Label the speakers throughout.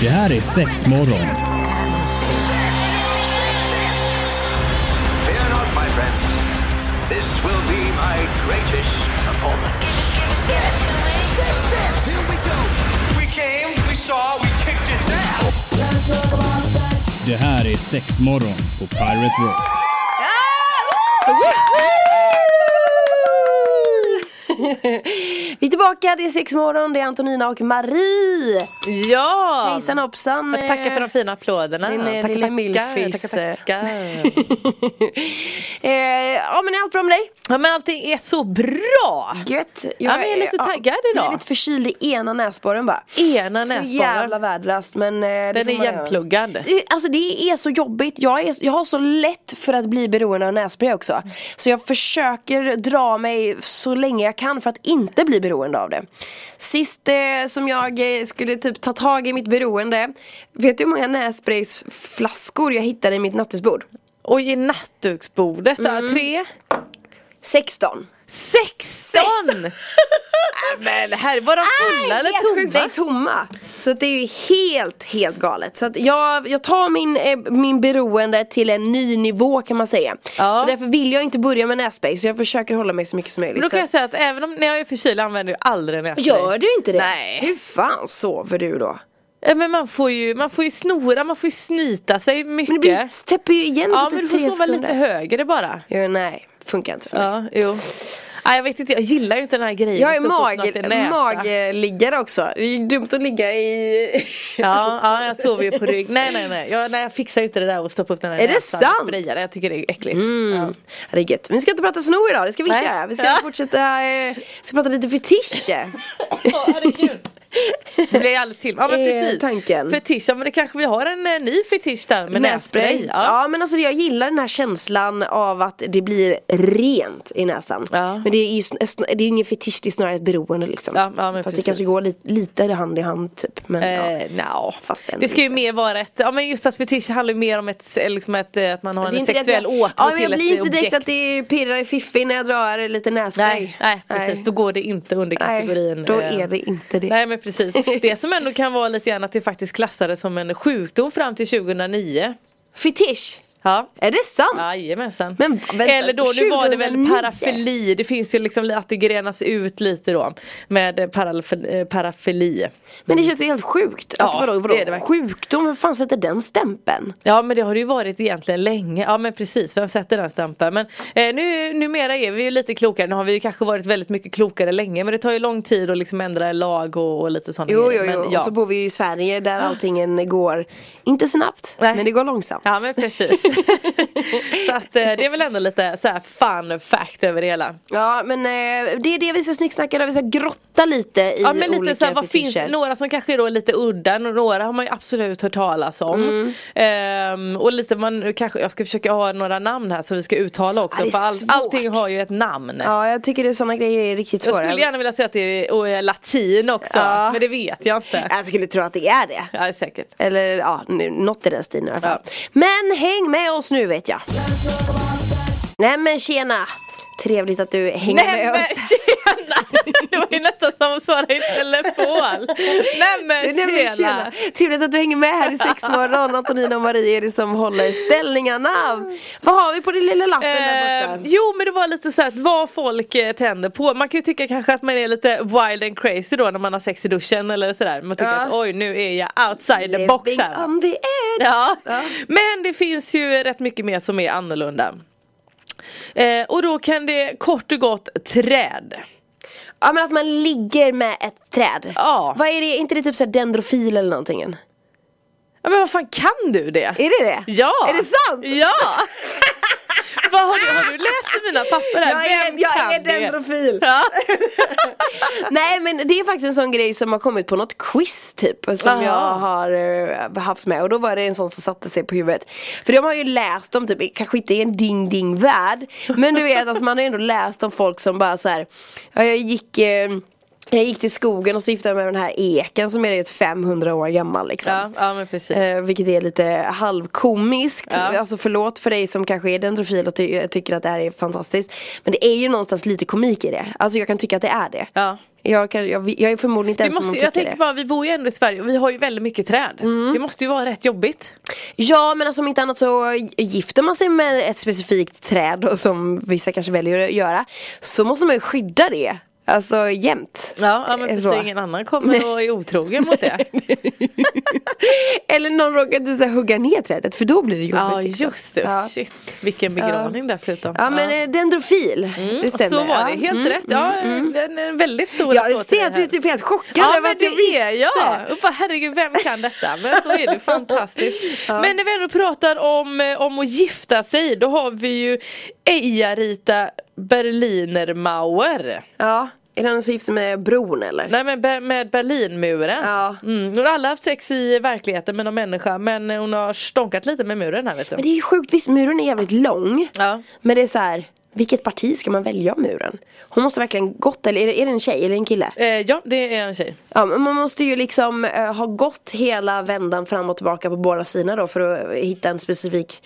Speaker 1: Det här är sex morgon.
Speaker 2: Fear not, my friends. This will be my greatest performance.
Speaker 3: Six, six, six.
Speaker 2: We came, we saw, we kicked its ass.
Speaker 1: Det här är sex morgon på Pirate Rock.
Speaker 4: Vi är tillbaka, det är sex morgon, det är Antonina och Marie.
Speaker 5: Ja!
Speaker 4: Hejsan hoppsan.
Speaker 5: Tack, Tackar för de fina applåderna.
Speaker 4: Din, eh,
Speaker 5: Tackar,
Speaker 4: lille
Speaker 5: tackar,
Speaker 4: milfis.
Speaker 5: Tackar, tackar.
Speaker 4: eh, ja men är allt bra med dig?
Speaker 5: ja, men allting är så bra!
Speaker 4: Gött.
Speaker 5: Ja, men jag är lite taggad idag.
Speaker 4: Jag är lite förkyld i ena näsborren bara.
Speaker 5: Ena
Speaker 4: Så
Speaker 5: näsborren.
Speaker 4: jävla värdelöst men eh, det
Speaker 5: Den
Speaker 4: får
Speaker 5: är
Speaker 4: man göra.
Speaker 5: jämnpluggad.
Speaker 4: Det- Alltså det är så jobbigt, jag, är, jag har så lätt för att bli beroende av nässpray också Så jag försöker dra mig så länge jag kan för att inte bli beroende av det Sist eh, som jag eh, skulle typ ta tag i mitt beroende Vet du hur många nässprayflaskor jag hittade i mitt nattduksbord?
Speaker 5: Och i nattduksbordet, där,
Speaker 4: Mm.
Speaker 5: tre,
Speaker 4: 16
Speaker 5: sexton! men det här, var de fulla
Speaker 4: helt
Speaker 5: eller
Speaker 4: sjukt. Det är
Speaker 5: tomma?
Speaker 4: tomma. Så att det är ju helt, helt galet. Så att jag, jag tar min, eh, min beroende till en ny nivå kan man säga.
Speaker 5: Ja.
Speaker 4: Så därför vill jag inte börja med nässpray så jag försöker hålla mig så mycket som möjligt.
Speaker 5: Men då
Speaker 4: Så
Speaker 5: kan jag
Speaker 4: att-
Speaker 5: säga att även om när jag är förkyld använder jag aldrig nässpray.
Speaker 4: Gör du inte det?
Speaker 5: Nej.
Speaker 4: Hur fan sover du då?
Speaker 5: Ja, Men man får ju, man får ju snora, man får ju snyta sig mycket.
Speaker 4: Men det blir, täpper ju igen
Speaker 5: ja
Speaker 4: efter
Speaker 5: men du får
Speaker 4: tre
Speaker 5: sova
Speaker 4: sekunder.
Speaker 5: lite högre bara.
Speaker 4: Ja, nej, funkar inte för mig.
Speaker 5: Ja, jo. Nej, jag vet inte, jag gillar ju inte den här grejen.
Speaker 4: Jag är
Speaker 5: att stå och få något i
Speaker 4: mag,
Speaker 5: näsan.
Speaker 4: magliggare också. Det är ju dumt att ligga i...
Speaker 5: Ja, ja, jag sover ju på rygg. Nej, nej, nej. Jag, nej, jag fixar ju inte det där och stoppa upp den här
Speaker 4: Är det
Speaker 5: näsan.
Speaker 4: sant?
Speaker 5: Spraya det. Jag tycker det är äckligt. Ja.
Speaker 4: Mm. Ja, det är gött. Men vi ska inte prata snor idag, det ska vi inte
Speaker 5: Nej.
Speaker 4: göra. Vi ska
Speaker 5: Ja.
Speaker 4: fortsätta, eh, ska prata lite fetischer.
Speaker 5: Ja, herregud. Det blir jag alldeles till. Ja, men
Speaker 4: Eh,
Speaker 5: precis.
Speaker 4: tanken.
Speaker 5: Fetisch, ja men det kanske vi har en eh, ny fetisch där med nässpray.
Speaker 4: Ja.
Speaker 5: Ja.
Speaker 4: men alltså jag gillar den här känslan av att det blir rent i näsan.
Speaker 5: Ja.
Speaker 4: Men det är ju sn- sn- det är ju ingen fetisch, det är snarare ett beroende liksom.
Speaker 5: Ja, ja, men
Speaker 4: Fast det
Speaker 5: precis.
Speaker 4: kanske går li- lite hand i hand typ. Men, ja.
Speaker 5: Eh, no.
Speaker 4: Fast ändå
Speaker 5: det ska ju
Speaker 4: inte.
Speaker 5: mer vara ett, ja men just att fetisch handlar ju mer om ett, liksom ett, eh, att man har
Speaker 4: Det är
Speaker 5: en
Speaker 4: inte direkt-
Speaker 5: sexuell åtrå
Speaker 4: ja, men
Speaker 5: till
Speaker 4: Jag
Speaker 5: ett
Speaker 4: blir inte direkt
Speaker 5: objekt.
Speaker 4: att det pirrar i fiffin när jag drar lite nässpray.
Speaker 5: Nej, nej precis, då går det inte under
Speaker 4: Nej,
Speaker 5: kategorin
Speaker 4: då
Speaker 5: eh,
Speaker 4: är det inte det.
Speaker 5: Nej men precis, det som ändå kan vara lite grann att det faktiskt klassades som en sjukdom fram till 2009
Speaker 4: Fetisch?
Speaker 5: Ja
Speaker 4: Är det sant?
Speaker 5: Jajamensan.
Speaker 4: Men vänta,
Speaker 5: Eller då, nu var det väl
Speaker 4: 2009?
Speaker 5: parafili, det finns ju liksom att det grenas ut lite då med eh, paralf- eh, parafili.
Speaker 4: Men det känns ju helt sjukt.
Speaker 5: Ja,
Speaker 4: att vadå, vadå?
Speaker 5: det är det verkligen.
Speaker 4: Sjukdom, vem fan sätter den stämpeln?
Speaker 5: Ja men det har det ju varit egentligen länge. Ja men precis, vem sätter den stämpeln? Men eh, nu, numera är vi ju lite klokare. Nu har vi ju kanske varit väldigt mycket klokare länge. Men det tar ju lång tid att liksom ändra lag och, och lite sådana
Speaker 4: Jo, jo,
Speaker 5: grejer.
Speaker 4: jo.
Speaker 5: Men, ja. Ah.
Speaker 4: Och så bor vi ju i Sverige där allting går, inte snabbt,
Speaker 5: Nej.
Speaker 4: men det går långsamt.
Speaker 5: Ja men precis. så att eh, det är väl ändå lite så här fun fact över det hela.
Speaker 4: Ja, men eh, det är det vi ska snicksnacka idag, vi ska grotta lite i
Speaker 5: Ja men lite
Speaker 4: olika
Speaker 5: så här, vad finns,
Speaker 4: fetischer.
Speaker 5: några som kanske då är lite udda, och några har man ju absolut hört talas om.
Speaker 4: Mm.
Speaker 5: Ehm, och lite man kanske, jag ska försöka ha några namn här som vi ska uttala också.
Speaker 4: Ja, det är
Speaker 5: för
Speaker 4: svårt.
Speaker 5: allting har ju ett namn.
Speaker 4: Ja, jag tycker det sådana grejer är riktigt
Speaker 5: Jag
Speaker 4: svåra.
Speaker 5: skulle gärna vilja säga att det är och är latin också,
Speaker 4: Ja.
Speaker 5: men det vet jag inte.
Speaker 4: Jag skulle tro att det är det.
Speaker 5: Ja, det är säkert.
Speaker 4: Eller ja, nu- något i den stilen i alla fall.
Speaker 5: Ja.
Speaker 4: Men häng med oss nu vet jag. Nej men tjena! Trevligt att du hänger
Speaker 5: Nej
Speaker 4: med
Speaker 5: men
Speaker 4: oss.
Speaker 5: tjena! Det var ju nästan som att svara i telefon. Nej men
Speaker 4: Nej, men
Speaker 5: tjena!
Speaker 4: Trevligt att du hänger med här i sexmorgon. Antonina och Marie är det som håller ställningarna. Vad har vi på den lilla lappen där
Speaker 5: Eh,
Speaker 4: borta?
Speaker 5: jo men det var lite så här att vad folk eh, tänder på. Man kan ju tycka kanske att man är lite wild and crazy då när man har sex i duschen eller sådär. Man tycker
Speaker 4: Ja.
Speaker 5: att oj nu är jag outside the box
Speaker 4: Living
Speaker 5: här. va?
Speaker 4: on the edge.
Speaker 5: Ja.
Speaker 4: Ja.
Speaker 5: Men det finns ju rätt mycket mer som är annorlunda. Eh, och då kan det kort och gott träd.
Speaker 4: Ja men att man ligger med ett träd.
Speaker 5: Ja.
Speaker 4: Vad är det, är inte det typ såhär dendrofil eller någonting? än?
Speaker 5: Ja men vad fan kan du det?
Speaker 4: Är det det?
Speaker 5: Ja!
Speaker 4: Är det sant?
Speaker 5: Ja! vad har, du, har du läst i mina papper här?
Speaker 4: Jag är,
Speaker 5: Vem
Speaker 4: jag är
Speaker 5: kan det?
Speaker 4: dendrofil.
Speaker 5: Ja.
Speaker 4: Nej men det är faktiskt en sån grej som har kommit på något quiz typ Som
Speaker 5: Aha.
Speaker 4: jag har eh, haft med och då var det en sån som satte sig på huvudet För de har ju läst om typ, kanske inte i en ding ding värld Men du vet alltså man har ju ändå läst om folk som bara så här. Ja jag gick eh, Jag gick till skogen och så giftade jag mig med den här eken som är ett 500 år gammal liksom.
Speaker 5: Ja, ja men precis.
Speaker 4: Eh, vilket är lite halvkomiskt.
Speaker 5: Typ. Ja.
Speaker 4: Alltså förlåt för dig som kanske är dendrofil och ty- eh, tycker att det här är fantastiskt. Men det är ju någonstans lite komik i det. Alltså jag kan tycka att det är det.
Speaker 5: Ja.
Speaker 4: Jag, kan, jag, jag är förmodligen inte
Speaker 5: Det
Speaker 4: ensam om
Speaker 5: måste,
Speaker 4: att
Speaker 5: jag
Speaker 4: tycka
Speaker 5: tänker
Speaker 4: det. Mm.
Speaker 5: bara, vi bor ju ändå i Sverige och vi har ju väldigt mycket träd. Det måste ju vara rätt jobbigt.
Speaker 4: Ja men alltså om inte annat så gifter man sig med ett specifikt träd då, som vissa kanske väljer att göra. Så måste man ju skydda det. Alltså jämt.
Speaker 5: Ja, ja men
Speaker 4: Eh,
Speaker 5: precis,
Speaker 4: så.
Speaker 5: ingen annan kommer och är otrogen mot det.
Speaker 4: Eller någon råkar inte så här, hugga ner trädet för då blir det jobbigt.
Speaker 5: Ja
Speaker 4: liksom.
Speaker 5: just det,
Speaker 4: Ja.
Speaker 5: shit vilken begravning dessutom.
Speaker 4: Ja men eh, dendrofil, det stämmer.
Speaker 5: Mm. Så var det,
Speaker 4: Ja. Mm.
Speaker 5: helt rätt. Ja, en, en väldigt
Speaker 4: Ja,
Speaker 5: stor
Speaker 4: jag
Speaker 5: applåd till
Speaker 4: ser
Speaker 5: det
Speaker 4: att
Speaker 5: här.
Speaker 4: du är typ helt chockad
Speaker 5: Ja
Speaker 4: över
Speaker 5: men
Speaker 4: att
Speaker 5: det
Speaker 4: jag visste.
Speaker 5: är jag! Och bara, herregud vem kan detta? Men så är det fantastiskt. Men när vi ändå pratar om, eh, om att gifta sig då har vi ju Eija-Rita Berliner Mauer.
Speaker 4: Ja, är det någon som gifter med bron eller?
Speaker 5: Nej men be- med Berlinmuren.
Speaker 4: Ja.
Speaker 5: Mm. Hon har aldrig haft sex i verkligheten med någon människa men eh, hon har stånkat lite med muren här vet du.
Speaker 4: Men det är ju sjukt, visst muren är jävligt lång.
Speaker 5: Ja.
Speaker 4: Men det är så här, vilket parti ska man välja av muren? Hon måste verkligen gått, eller är det, är det en tjej eller en kille?
Speaker 5: Eh, ja det är en tjej.
Speaker 4: Ja, men man måste ju liksom eh, ha gått hela vändan fram och tillbaka på båda sidorna då för att hitta en specifik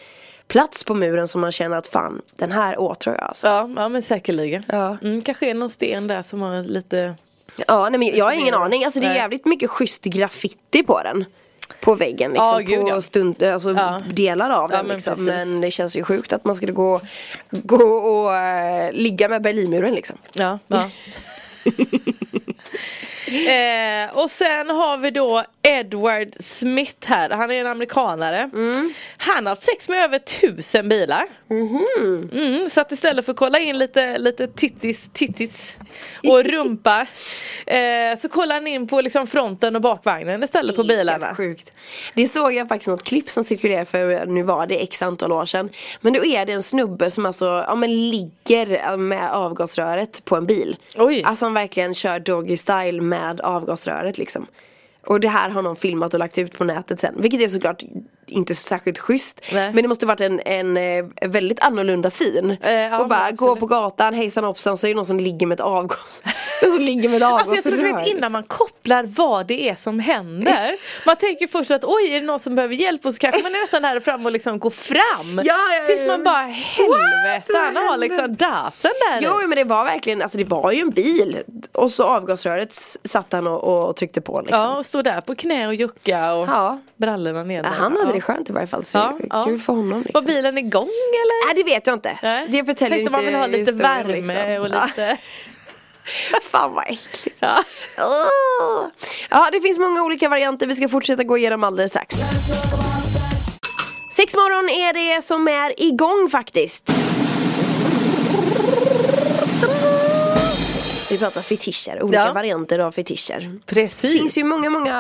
Speaker 4: plats på muren som man känner att fan, den här åtrår jag alltså.
Speaker 5: Ja, ja men säkerligen.
Speaker 4: Ja.
Speaker 5: Mm, kanske är någon sten där som har lite
Speaker 4: Ja, nej men jag har ingen aning. Alltså det är
Speaker 5: Mm. Nej.
Speaker 4: jävligt mycket schysst graffiti på den. På väggen liksom,
Speaker 5: Ja, gud,
Speaker 4: på
Speaker 5: ja.
Speaker 4: stund, alltså
Speaker 5: Ja.
Speaker 4: delar av
Speaker 5: Ja,
Speaker 4: den
Speaker 5: men
Speaker 4: liksom.
Speaker 5: precis.
Speaker 4: Men det känns ju sjukt att man skulle gå, gå och eh, ligga med Berlinmuren liksom.
Speaker 5: Ja, ja. eh, och sen har vi då Edward Smith här, han är en amerikanare Han har haft sex med över tusen bilar Mm, Så att istället för att kolla in lite, lite tittis, tittis och rumpa eh, Så kollar han in på liksom fronten och bakvagnen istället på
Speaker 4: Det är
Speaker 5: bilarna
Speaker 4: helt Sjukt. Det såg jag faktiskt något klipp som cirkulerade för nu var det x antal år sedan. Men då är det en snubbe som alltså, ja men ligger med avgasröret på en bil.
Speaker 5: Oj.
Speaker 4: Alltså han verkligen kör doggy style med avgasröret liksom. Och det här har någon filmat och lagt ut på nätet sen. Vilket är såklart inte så särskilt schysst.
Speaker 5: Nej.
Speaker 4: Men det måste varit en, en eh, väldigt annorlunda syn.
Speaker 5: Eh, ja,
Speaker 4: och bara
Speaker 5: men
Speaker 4: gå
Speaker 5: absolut.
Speaker 4: på gatan, hejsan hoppsan så är det någon som ligger med ett avgas. som ligger med ett avgasrör.
Speaker 5: Alltså jag tror du vet innan man
Speaker 4: liksom.
Speaker 5: kopplar vad det är som händer Man tänker först att oj är det någon som behöver hjälp och så kanske man är nästan nära fram och liksom går fram
Speaker 4: Ja, ja,
Speaker 5: Tills
Speaker 4: ja.
Speaker 5: man bara helvete
Speaker 4: What?
Speaker 5: han har
Speaker 4: Vad
Speaker 5: liksom dasen där
Speaker 4: Jo men det var verkligen, alltså det var ju en bil Och så avgasröret s- satt han och, och tryckte på liksom
Speaker 5: Ja och står där på knä och jucka och
Speaker 4: Ja.
Speaker 5: brallorna ner
Speaker 4: Ja, Han hade det skönt i varje fall så
Speaker 5: Ja, ja.
Speaker 4: kul för honom liksom
Speaker 5: Var bilen igång eller?
Speaker 4: Nej det vet jag inte, det förtäljer
Speaker 5: Tänkte
Speaker 4: inte
Speaker 5: man vill ha lite
Speaker 4: historien,
Speaker 5: värme
Speaker 4: liksom.
Speaker 5: och lite
Speaker 4: Ja. Fan vad äckligt
Speaker 5: ja.
Speaker 4: Åh! Ja det finns många olika varianter, vi ska fortsätta gå igenom alldeles strax Sex morgon är det som är igång faktiskt Vi pratar fetischer, olika
Speaker 5: Ja.
Speaker 4: varianter av fetischer Det
Speaker 5: Precis
Speaker 4: finns ju många, många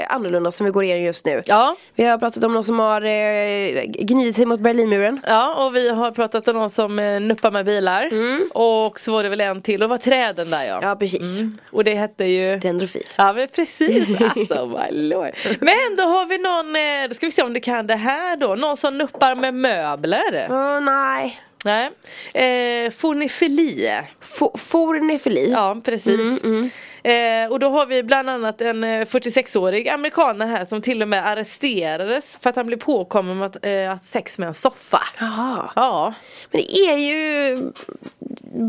Speaker 4: eh, annorlunda som vi går igenom just nu.
Speaker 5: Ja
Speaker 4: Vi har pratat om någon som har eh, gnidit sig mot Berlinmuren.
Speaker 5: Ja och vi har pratat om någon som eh, nuppar med bilar Och så var det väl en till och var träden där Mm. ja,
Speaker 4: Ja, precis.
Speaker 5: Och det hette ju
Speaker 4: Dendrofil.
Speaker 5: Ja men precis alltså my lord. Men då har vi någon, eh, då ska vi se om du kan det här då, någon som nuppar med möbler.
Speaker 4: Åh nej.
Speaker 5: Nej. Eh, fornifili.
Speaker 4: Fo- Fornefili.
Speaker 5: Ja precis. Eh, och då har vi bland annat en eh, 46-årig amerikan här som till och med arresterades för att han blev påkommen med att eh, ha sex med en soffa.
Speaker 4: Jaha.
Speaker 5: Ja.
Speaker 4: Men det är ju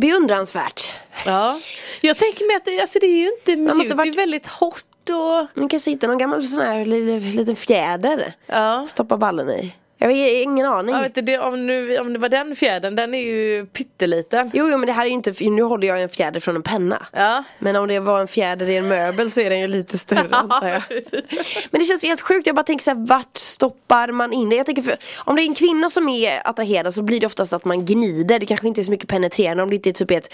Speaker 4: beundransvärt.
Speaker 5: ja. Jag tänker mig att det, alltså, det är ju inte
Speaker 4: måste
Speaker 5: mjukt, det
Speaker 4: varit-
Speaker 5: är väldigt hårt och
Speaker 4: Man kanske hittar någon gammal sån här li- liten fjäder.
Speaker 5: ja.
Speaker 4: Stoppa ballen i. Jag har ingen aning.
Speaker 5: Jag vet inte det, om, nu, om det var den fjädern, den är ju pytteliten.
Speaker 4: Jo, jo men det här är ju inte, nu håller jag en fjäder från en penna.
Speaker 5: Ja.
Speaker 4: Men om det var en fjäder i en möbel så är den ju lite större antar jag. Men det känns helt sjukt, jag bara tänker såhär vart stoppar man in det? Jag tänker för, om det är en kvinna som är attraherad så blir det oftast att man gnider, det kanske inte är så mycket penetrerande om det inte är typ ett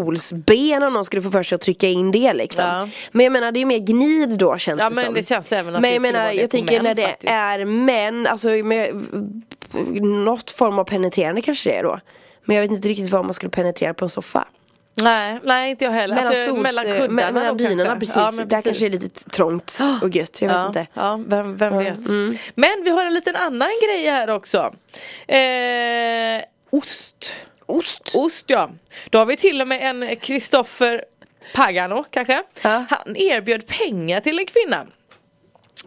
Speaker 4: stolsben om någon skulle få för sig att trycka in det liksom.
Speaker 5: Ja.
Speaker 4: Men jag menar det är mer gnid då känns
Speaker 5: Ja,
Speaker 4: det
Speaker 5: men
Speaker 4: som.
Speaker 5: det känns även
Speaker 4: men
Speaker 5: att det
Speaker 4: jag
Speaker 5: skulle
Speaker 4: menar
Speaker 5: vara det
Speaker 4: jag
Speaker 5: på
Speaker 4: tänker
Speaker 5: män
Speaker 4: när det
Speaker 5: faktiskt.
Speaker 4: är män, alltså med, något form av penetrerande kanske det är då. Men jag vet inte riktigt vad man skulle penetrera på en soffa.
Speaker 5: Nej, nej inte jag heller.
Speaker 4: Mellan,
Speaker 5: Alltså,
Speaker 4: stols,
Speaker 5: mellan
Speaker 4: eh,
Speaker 5: kuddarna
Speaker 4: me- mellan
Speaker 5: då kanske.
Speaker 4: dynorna precis.
Speaker 5: Ja, men
Speaker 4: Där
Speaker 5: precis.
Speaker 4: kanske det är lite trångt och gött. Jag vet
Speaker 5: ja,
Speaker 4: inte.
Speaker 5: Ja, vem, vem vet. Men vi har en liten annan grej här också. Eh, ost.
Speaker 4: Ost.
Speaker 5: Ost ja. Då har vi till och med en Kristoffer Pagano kanske.
Speaker 4: Ja.
Speaker 5: Han erbjöd pengar till en kvinna.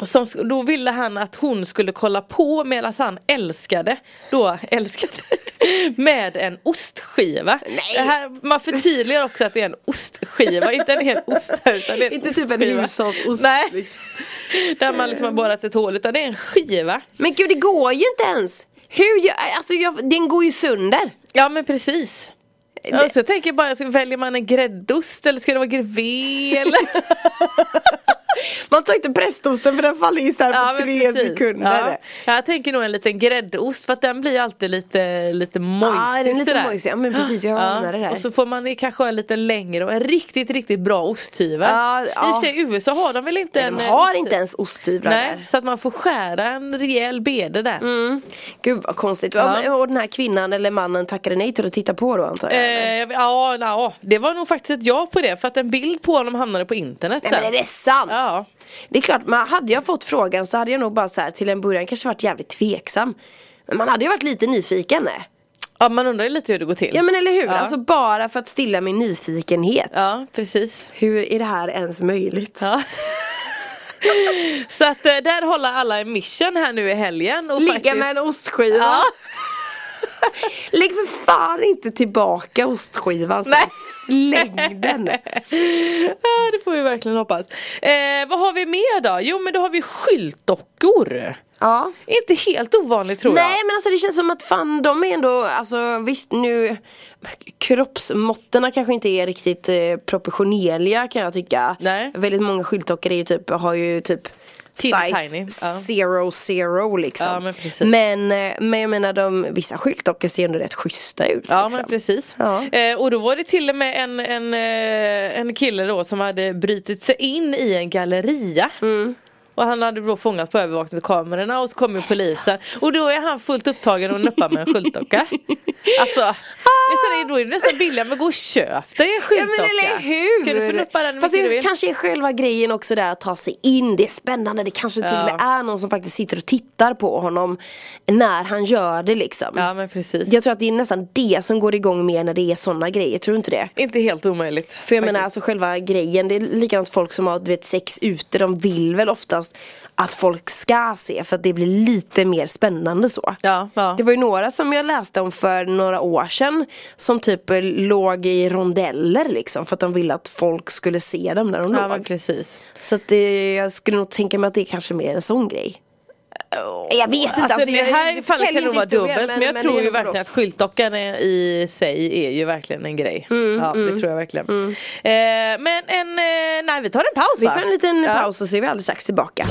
Speaker 5: Som, sk- då ville han att hon skulle kolla på medan han älskade, då älskade, med en ostskiva. Det här, man förtydligar också att det är en ostskiva, inte en hel ost här, utan det är en
Speaker 4: Inte typ en
Speaker 5: ostskiva.
Speaker 4: hushållsost,
Speaker 5: Nej,
Speaker 4: liksom.
Speaker 5: där man liksom har borrat ett hål, utan det är en skiva.
Speaker 4: Men gud det går ju inte ens! Hur gör, alltså jag, den går ju sönder!
Speaker 5: Ja men precis.
Speaker 4: Det-
Speaker 5: Alltså, jag tänker bara, så väljer man en gräddost eller ska det vara grevé eller?
Speaker 4: Man tar inte prästosten för den faller isär på
Speaker 5: men
Speaker 4: tre
Speaker 5: precis.
Speaker 4: sekunder.
Speaker 5: Ja. Jag tänker nog en liten gräddost för att den blir alltid lite, lite mojsig.
Speaker 4: Ja, den är lite
Speaker 5: sådär.
Speaker 4: mojsig. Ja, men precis, jag anar det där.
Speaker 5: Och så får man kanske en lite längre och en riktigt, riktigt bra osthyvel.
Speaker 4: Ja,
Speaker 5: I
Speaker 4: ja.
Speaker 5: och för sig i USA har de väl inte en
Speaker 4: De har
Speaker 5: osthyvel?
Speaker 4: inte ens osthyvlar
Speaker 5: Nej,
Speaker 4: där. Mm.
Speaker 5: så att man får skära en rejäl bede där.
Speaker 4: Gud vad konstigt.
Speaker 5: Ja.
Speaker 4: Ja. Och den här kvinnan eller mannen tackade nej till att titta på då antar jag. eller?
Speaker 5: Eh, ja, ja, det var nog faktiskt ett ja på det för att en bild på honom hamnade på internet
Speaker 4: Nej men är det sant?
Speaker 5: Ja.
Speaker 4: Det är klart, man, hade jag fått frågan så hade jag nog bara så här till en början kanske varit jävligt tveksam. Men man hade ju varit lite nyfiken. nej?
Speaker 5: Ja man undrar ju lite hur det går till.
Speaker 4: Ja men eller hur,
Speaker 5: Ja.
Speaker 4: alltså bara för att stilla min nyfikenhet.
Speaker 5: Ja, precis.
Speaker 4: Hur är det här ens möjligt?
Speaker 5: Ja. Så att eh, där håller alla en mission här nu i helgen. Och
Speaker 4: Ligga
Speaker 5: faktiskt...
Speaker 4: med en ostskiva.
Speaker 5: Ja.
Speaker 4: Lägg för fan inte tillbaka ostskivan sen.
Speaker 5: Nej.
Speaker 4: Släng den.
Speaker 5: Ja, det får vi verkligen hoppas. Eh, vad har vi mer då? Jo men då har vi skyltdockor.
Speaker 4: Ja.
Speaker 5: Inte helt ovanligt tror
Speaker 4: Nej men alltså det känns som att fan de är ändå, alltså visst nu Kroppsmåtterna kanske inte är riktigt eh, proportionerliga kan jag tycka
Speaker 5: Nej.
Speaker 4: Väldigt många skyltdockor är ju typ, har ju typ
Speaker 5: Teeny
Speaker 4: Size
Speaker 5: tiny, ja.
Speaker 4: zero zero liksom
Speaker 5: Ja, men precis.
Speaker 4: men, eh, men jag menar de, vissa skyltdockor ser ju ändå rätt schyssta ut
Speaker 5: Ja
Speaker 4: liksom.
Speaker 5: men precis.
Speaker 4: Ja.
Speaker 5: Eh, och då var det till och med en, en, eh, en kille då som hade brutit sig in i en galleria.
Speaker 4: Mm.
Speaker 5: Och han hade då fångat på övervakningskamerorna och så kom ju polisen. Och då är han fullt upptagen och nuppar med en skyltdocka. Alltså, vet du, det- då är det nästan billigare med gå och köp dig en
Speaker 4: Ah! Ja men
Speaker 5: skyltdocka.
Speaker 4: eller hur!
Speaker 5: Ska du få nuppa den hur
Speaker 4: Fast
Speaker 5: mycket du
Speaker 4: det
Speaker 5: vill?
Speaker 4: kanske är själva grejen också där att ta sig in, det är spännande, det kanske till och med är någon som faktiskt sitter och tittar på honom när han gör det liksom
Speaker 5: Ja men precis.
Speaker 4: Jag tror att det är nästan det som går igång mer när det är sådana grejer, tror du inte det?
Speaker 5: Inte helt omöjligt.
Speaker 4: För jag menar alltså själva grejen, det är likadant folk som har du vet, sex ute, de vill väl oftast att folk ska se för att det blir lite mer spännande så.
Speaker 5: Ja, ja.
Speaker 4: Det var ju några som jag läste om för några år sedan som typ eh, låg i rondeller liksom för att de ville att folk skulle se dem när de
Speaker 5: Ja men
Speaker 4: låg.
Speaker 5: precis.
Speaker 4: Så att det, jag skulle nog tänka mig att det är kanske mer en sån grej. Jag vet inte,
Speaker 5: Alltså,
Speaker 4: alltså,
Speaker 5: det
Speaker 4: jag
Speaker 5: här
Speaker 4: jag
Speaker 5: fallet
Speaker 4: förtäljer
Speaker 5: kan nog
Speaker 4: inte
Speaker 5: vara
Speaker 4: historien,
Speaker 5: dubbelt men, jag
Speaker 4: det
Speaker 5: tror
Speaker 4: är
Speaker 5: ju
Speaker 4: nog bra.
Speaker 5: verkligen att skyltdockan är- i sig är ju verkligen en grej.
Speaker 4: Mm,
Speaker 5: ja, Det tror jag verkligen. Eh, men en, eh, nej vi tar en paus
Speaker 4: Vi
Speaker 5: va?
Speaker 4: tar en liten
Speaker 5: Ja.
Speaker 4: paus och så är vi alldeles strax tillbaka.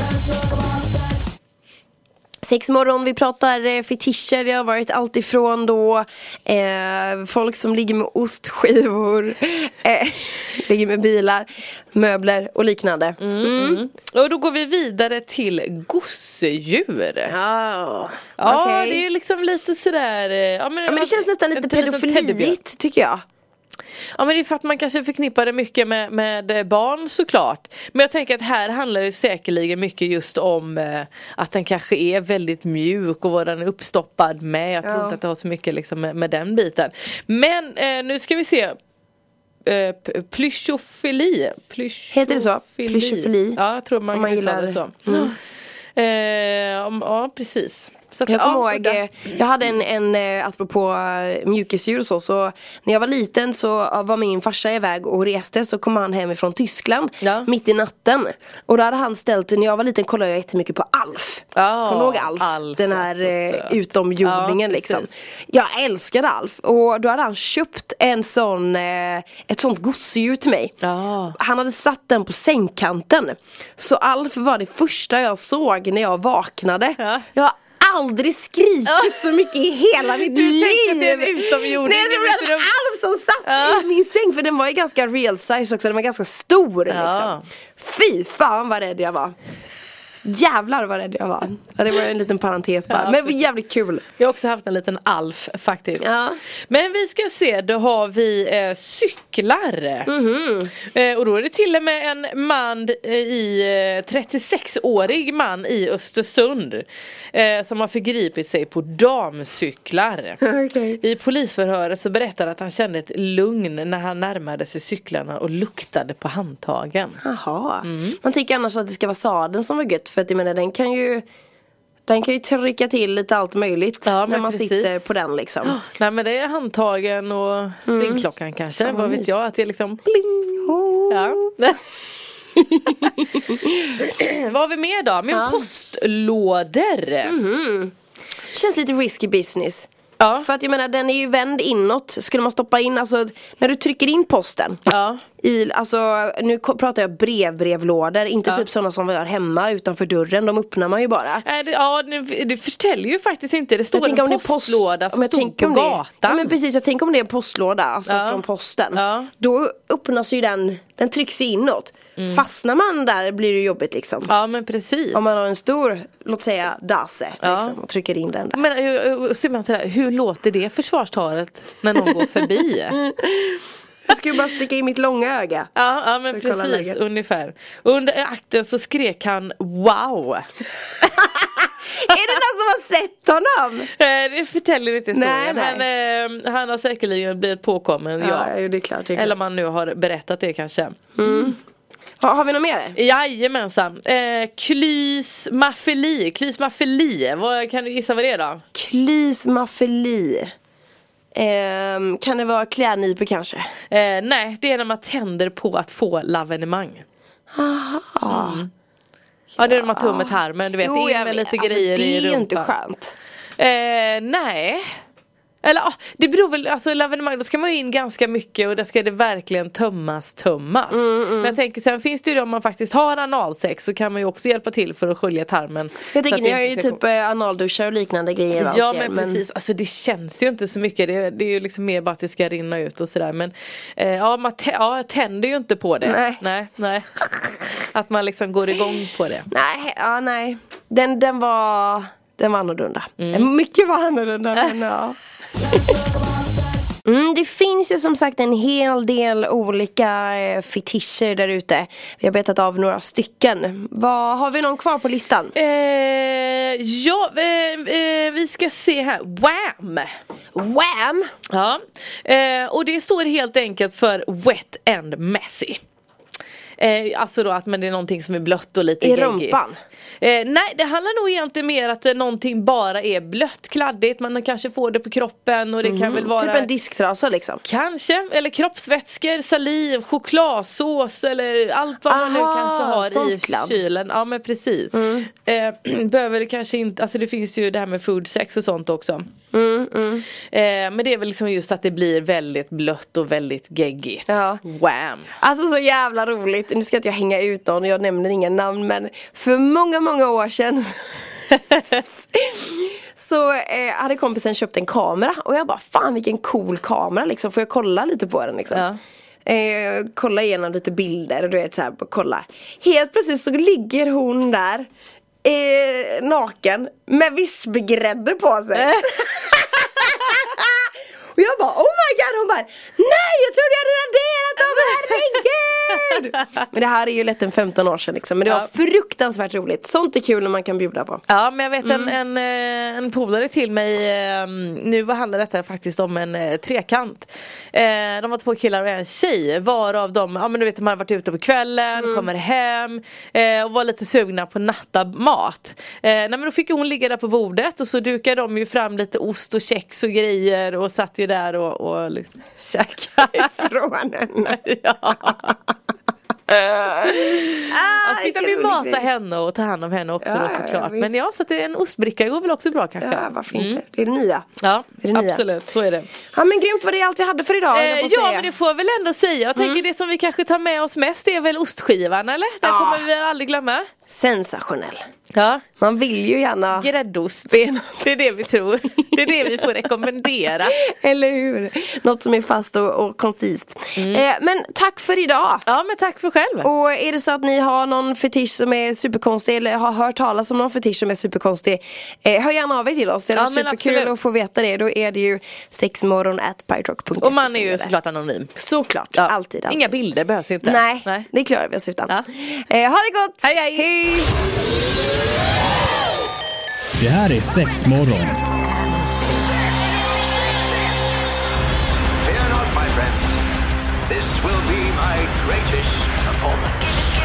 Speaker 4: Sex morgon, vi pratar eh, fetischer, det har varit allt ifrån då eh, folk som ligger med ostskivor, eh, ligger med bilar, möbler och liknande.
Speaker 5: Mm. Och då går vi vidare till gosedjur. Ja,
Speaker 4: Ja, okej.
Speaker 5: det är liksom lite sådär eh, Ja men,
Speaker 4: Ja, men det känns nästan
Speaker 5: en
Speaker 4: lite
Speaker 5: liten teddybjörn.
Speaker 4: pedofiliigt tycker jag.
Speaker 5: Ja men det är för att man kanske förknippar det mycket med, med eh, barn såklart. Men jag tänker att här handlar det säkerligen mycket just om eh, att den kanske är väldigt mjuk och vad den är uppstoppad med. Jag tror
Speaker 4: Ja.
Speaker 5: inte att det har så mycket liksom, med, med den biten. Men eh, nu ska vi se. Eh, p- plyschofili. Plyschofili.
Speaker 4: Heter det så? Plyschofili?
Speaker 5: Ja jag tror man,
Speaker 4: Om man
Speaker 5: kan uttala
Speaker 4: gillar- Mm.
Speaker 5: det så. Eh, om, ja precis. Så att-
Speaker 4: Jag kommer
Speaker 5: ja,
Speaker 4: ihåg,
Speaker 5: udda.
Speaker 4: eh, jag hade en, en eh, apropå eh, mjukisdjur och så, så När jag var liten så eh, var min farsa iväg och reste så kom han hem från Tyskland
Speaker 5: Ja.
Speaker 4: Mitt i natten Och då hade han ställt, när jag var liten kollade jag jättemycket på Alf
Speaker 5: Ja,
Speaker 4: Kommer du ihåg Alf?
Speaker 5: Alf
Speaker 4: Den
Speaker 5: var
Speaker 4: här
Speaker 5: så söt.
Speaker 4: eh, utomjordingen
Speaker 5: Ja,
Speaker 4: liksom
Speaker 5: precis.
Speaker 4: Jag älskade Alf och då hade han köpt en sån, eh, ett sånt gosedjur till mig
Speaker 5: Ja.
Speaker 4: han hade satt den på sängkanten Så Alf var det första jag såg när jag vaknade
Speaker 5: Ja.
Speaker 4: Jag har aldrig skrikit så mycket i hela mitt
Speaker 5: Du
Speaker 4: liv!
Speaker 5: tänkte att det är en utomjording
Speaker 4: Nej jag
Speaker 5: i
Speaker 4: trodde
Speaker 5: mitt
Speaker 4: att det var
Speaker 5: rum.
Speaker 4: Alf som satt
Speaker 5: Ja.
Speaker 4: i min säng för den var ju ganska real size också, den var ganska stor
Speaker 5: Ja.
Speaker 4: liksom Fy fan vad rädd jag var Jävlar vad rädd jag var. Ja, det var en liten parentes bara. Men det var jävligt kul.
Speaker 5: Jag har också haft en liten alf faktiskt.
Speaker 4: Ja.
Speaker 5: Men vi ska se, då har vi eh, cyklar.
Speaker 4: Mhm.
Speaker 5: Eh, och då är det till och med en man eh, i eh, 36-årig man i Östersund eh, som har förgripit sig på damcyklar.
Speaker 4: Okej.
Speaker 5: I polisförhöret så berättar han att han kände ett lugn när han närmade sig cyklarna och luktade på handtagen.
Speaker 4: Jaha.
Speaker 5: Mm.
Speaker 4: Man tycker annars att det ska vara sadeln som var gött för att jag menar den kan ju Den kan ju trycka till lite allt möjligt
Speaker 5: Ja,
Speaker 4: när
Speaker 5: men
Speaker 4: man
Speaker 5: precis.
Speaker 4: sitter på den liksom.
Speaker 5: Nej men det är handtagen och ringklockan kanske,
Speaker 4: Mm. Fan, vad
Speaker 5: vad vet
Speaker 4: mysigt.
Speaker 5: jag, att det är liksom bling.
Speaker 4: Oh.
Speaker 5: Ja.
Speaker 4: Mm.
Speaker 5: Vad har vi mer då? Men
Speaker 4: Ja. Mm.
Speaker 5: postlådor.
Speaker 4: Känns lite risky business.
Speaker 5: Ja.
Speaker 4: För att jag menar den är ju vänd inåt. Skulle man stoppa in, alltså när du trycker in posten.
Speaker 5: Ja.
Speaker 4: I, alltså nu ko- pratar jag brevbrevlådor, inte
Speaker 5: Ja.
Speaker 4: typ sådana som vi har hemma utanför dörren. De öppnar man ju bara.
Speaker 5: Nej, det, ja, det, det förtäljer ju faktiskt inte. Det
Speaker 4: Jag
Speaker 5: står
Speaker 4: tänker om det
Speaker 5: en
Speaker 4: är post-
Speaker 5: postlåda
Speaker 4: om
Speaker 5: som
Speaker 4: jag
Speaker 5: stod
Speaker 4: tänker
Speaker 5: på
Speaker 4: om
Speaker 5: gatan.
Speaker 4: Det, ja, men precis, jag tänker om det är en postlåda, alltså
Speaker 5: Ja.
Speaker 4: från posten.
Speaker 5: Ja.
Speaker 4: Då öppnas ju den, den trycks ju inåt. Fastnar man där blir det jobbigt liksom.
Speaker 5: Mm. Ja, men precis.
Speaker 4: Om man har en stor, låt säga dase,
Speaker 5: Ja.
Speaker 4: liksom, och trycker in den där.
Speaker 5: Men eh, och så är man sådär, hur låter det försvarstalet när någon går förbi?
Speaker 4: Jag skulle bara sticka in mitt långa öga.
Speaker 5: Ja, ja men
Speaker 4: För att kolla
Speaker 5: precis
Speaker 4: läget.
Speaker 5: ungefär. Under akten så skrek han wow.
Speaker 4: är det någon som har sett honom?
Speaker 5: Eh, Det förtäljer inte historien
Speaker 4: Nej, nej.
Speaker 5: men eh, han har säkerligen blivit påkommen. Ja.
Speaker 4: Ja, jo, det är klart. Det är klart.
Speaker 5: Eller om han nu har berättat det kanske.
Speaker 4: Ha, har vi något mer?
Speaker 5: Jajamensan. Eh, klysmafeli. Klysmafeli. Vad, kan du gissa vad det är då?
Speaker 4: Klysmafeli. Ehm, kan det vara klädnypor kanske?
Speaker 5: Eh, nej, det är när man tänder på att få lavenemang.
Speaker 4: Ah.
Speaker 5: Ja, det är när man tar med tarmen. Du vet,
Speaker 4: Jo,
Speaker 5: in
Speaker 4: jag
Speaker 5: med
Speaker 4: vet.
Speaker 5: lite
Speaker 4: Alltså,
Speaker 5: grejer i
Speaker 4: Det är ju inte
Speaker 5: rumpan.
Speaker 4: skönt.
Speaker 5: Eh, nej. Eller ah, det beror väl, alltså lavenemang då ska man ju in ganska mycket och där ska det verkligen tömmas tömmas. Men jag tänker sen finns det ju det om man faktiskt har analsex så kan man ju också hjälpa till för att skölja tarmen. så
Speaker 4: Jag
Speaker 5: att
Speaker 4: tänker
Speaker 5: det
Speaker 4: ni har ju
Speaker 5: inte ska
Speaker 4: typ eh, analduschar och liknande grejer va,
Speaker 5: Ja
Speaker 4: ser,
Speaker 5: men precis, alltså det känns ju inte så mycket. Det, det är ju liksom mer bara att det ska rinna ut och sådär. Men eh, ja, man tä- ja, jag tänder ju inte på det.
Speaker 4: Nej.
Speaker 5: Nej, nej. Att man liksom går igång på det.
Speaker 4: Nej, ja nej Den, den var Den var annorlunda
Speaker 5: Mm.
Speaker 4: Eh, Mycket var annorlunda men ja Mm, det finns ju som sagt en hel del olika eh, fetischer där ute. Vi har betat av några stycken. Vad har vi någon kvar på listan?
Speaker 5: Eh, ja, eh, eh, vi ska se här. Wham!
Speaker 4: Wham!
Speaker 5: Ja, eh, och det står helt enkelt för wet and messy. Eh, alltså då att men det är någonting som är blött och lite
Speaker 4: I
Speaker 5: geggigt.
Speaker 4: rumpan?
Speaker 5: Eh, nej det handlar nog egentligen mer att det, någonting bara är blött, kladdigt, man kanske får det på kroppen och det kan väl vara
Speaker 4: Typ en disktrasa liksom.
Speaker 5: Kanske, eller kroppsvätskor, saliv, chokladsås eller allt vad man nu
Speaker 4: Aha,
Speaker 5: kanske har i
Speaker 4: sånt Mm. kladd.
Speaker 5: kylen. Ja men precis. Eh, behöver det kanske inte, alltså det finns ju det här med food sex och sånt också.
Speaker 4: Mm,
Speaker 5: Eh, men det är väl liksom just att det blir väldigt blött och väldigt geggigt.
Speaker 4: Ja.
Speaker 5: Wham!
Speaker 4: Alltså så jävla roligt, nu ska inte jag hänga ut någon, jag nämner inga namn men för många, många år sedan Så eh, hade kompisen köpt en kamera och jag bara fan vilken cool kamera liksom, får jag kolla lite på den liksom?
Speaker 5: Ja.
Speaker 4: Eh, kolla igenom lite bilder och du vet såhär, kolla Helt plötsligt så ligger hon där eh, naken med vispgrädde på sig och jag bara oh my god, hon bara nej jag trodde jag hade raderat dem, herregud! Men det här är ju lätt en 15 år sedan liksom, men det var
Speaker 5: Ja.
Speaker 4: fruktansvärt roligt. Sånt är kul när man kan bjuda på.
Speaker 5: Ja men jag vet
Speaker 4: Mm.
Speaker 5: en, en, eh, en polare till mig, eh, nu vad handlar detta faktiskt om en eh, trekant. Eh, De var två killar och en tjej varav de, ja men du vet de hade varit ute på kvällen,
Speaker 4: Mm.
Speaker 5: kommer hem eh, och var lite sugna på nattamat. Eh, Nej men då fick ju hon ligga där på bordet och så dukade de ju fram lite ost och kex och grejer och satt ju där och, och liksom käkade.
Speaker 4: Från henne.
Speaker 5: ja.
Speaker 4: Ah,
Speaker 5: Man ska
Speaker 4: vilken
Speaker 5: ju
Speaker 4: rolig
Speaker 5: mata
Speaker 4: grej.
Speaker 5: henne och ta hand om henne också
Speaker 4: Ja,
Speaker 5: då,
Speaker 4: ja,
Speaker 5: såklart.
Speaker 4: visst.
Speaker 5: Men ja, så att det är en ostbricka går väl också bra kanske.
Speaker 4: Ja, varför
Speaker 5: Mm.
Speaker 4: inte? Det är det nya.
Speaker 5: Ja,
Speaker 4: Det är det nya.
Speaker 5: absolut så är det.
Speaker 4: Ja men grymt var det allt vi hade för idag höll
Speaker 5: Eh,
Speaker 4: jag på att
Speaker 5: ja
Speaker 4: säga.
Speaker 5: men det får Mm. jag väl ändå säga. Jag tänker det som vi kanske tar med oss mest är väl ostskivan eller? Den
Speaker 4: Ja.
Speaker 5: kommer vi väl aldrig glömma.
Speaker 4: sensationell.
Speaker 5: Ja.
Speaker 4: Man vill ju gärna
Speaker 5: Gräddost.
Speaker 4: bena.
Speaker 5: Det är det vi tror. Det är det vi får rekommendera.
Speaker 4: Eller hur? Något som är fast och, och koncist.
Speaker 5: Mm.
Speaker 4: Eh, men tack för idag.
Speaker 5: Ja men tack för själv.
Speaker 4: Och är det så att ni har någon fetisch som är superkonstig eller har hört talas om någon fetisch som är superkonstig eh, Hör gärna av er till oss, det är
Speaker 5: Ja, men
Speaker 4: superkul
Speaker 5: absolut.
Speaker 4: att få veta det Då är det ju sexmorgon at
Speaker 5: Och man är ju såklart anonym.
Speaker 4: Såklart,
Speaker 5: Ja.
Speaker 4: alltid, alltid.
Speaker 5: Inga bilder behövs inte.
Speaker 4: Nej, det klarar vi oss utan
Speaker 5: Ja.
Speaker 4: eh, Ha det gott!
Speaker 5: Hej, hej.
Speaker 4: hej.
Speaker 1: Det här är sexmorgon.
Speaker 2: Fear not, my friends. This will be my greatest performance.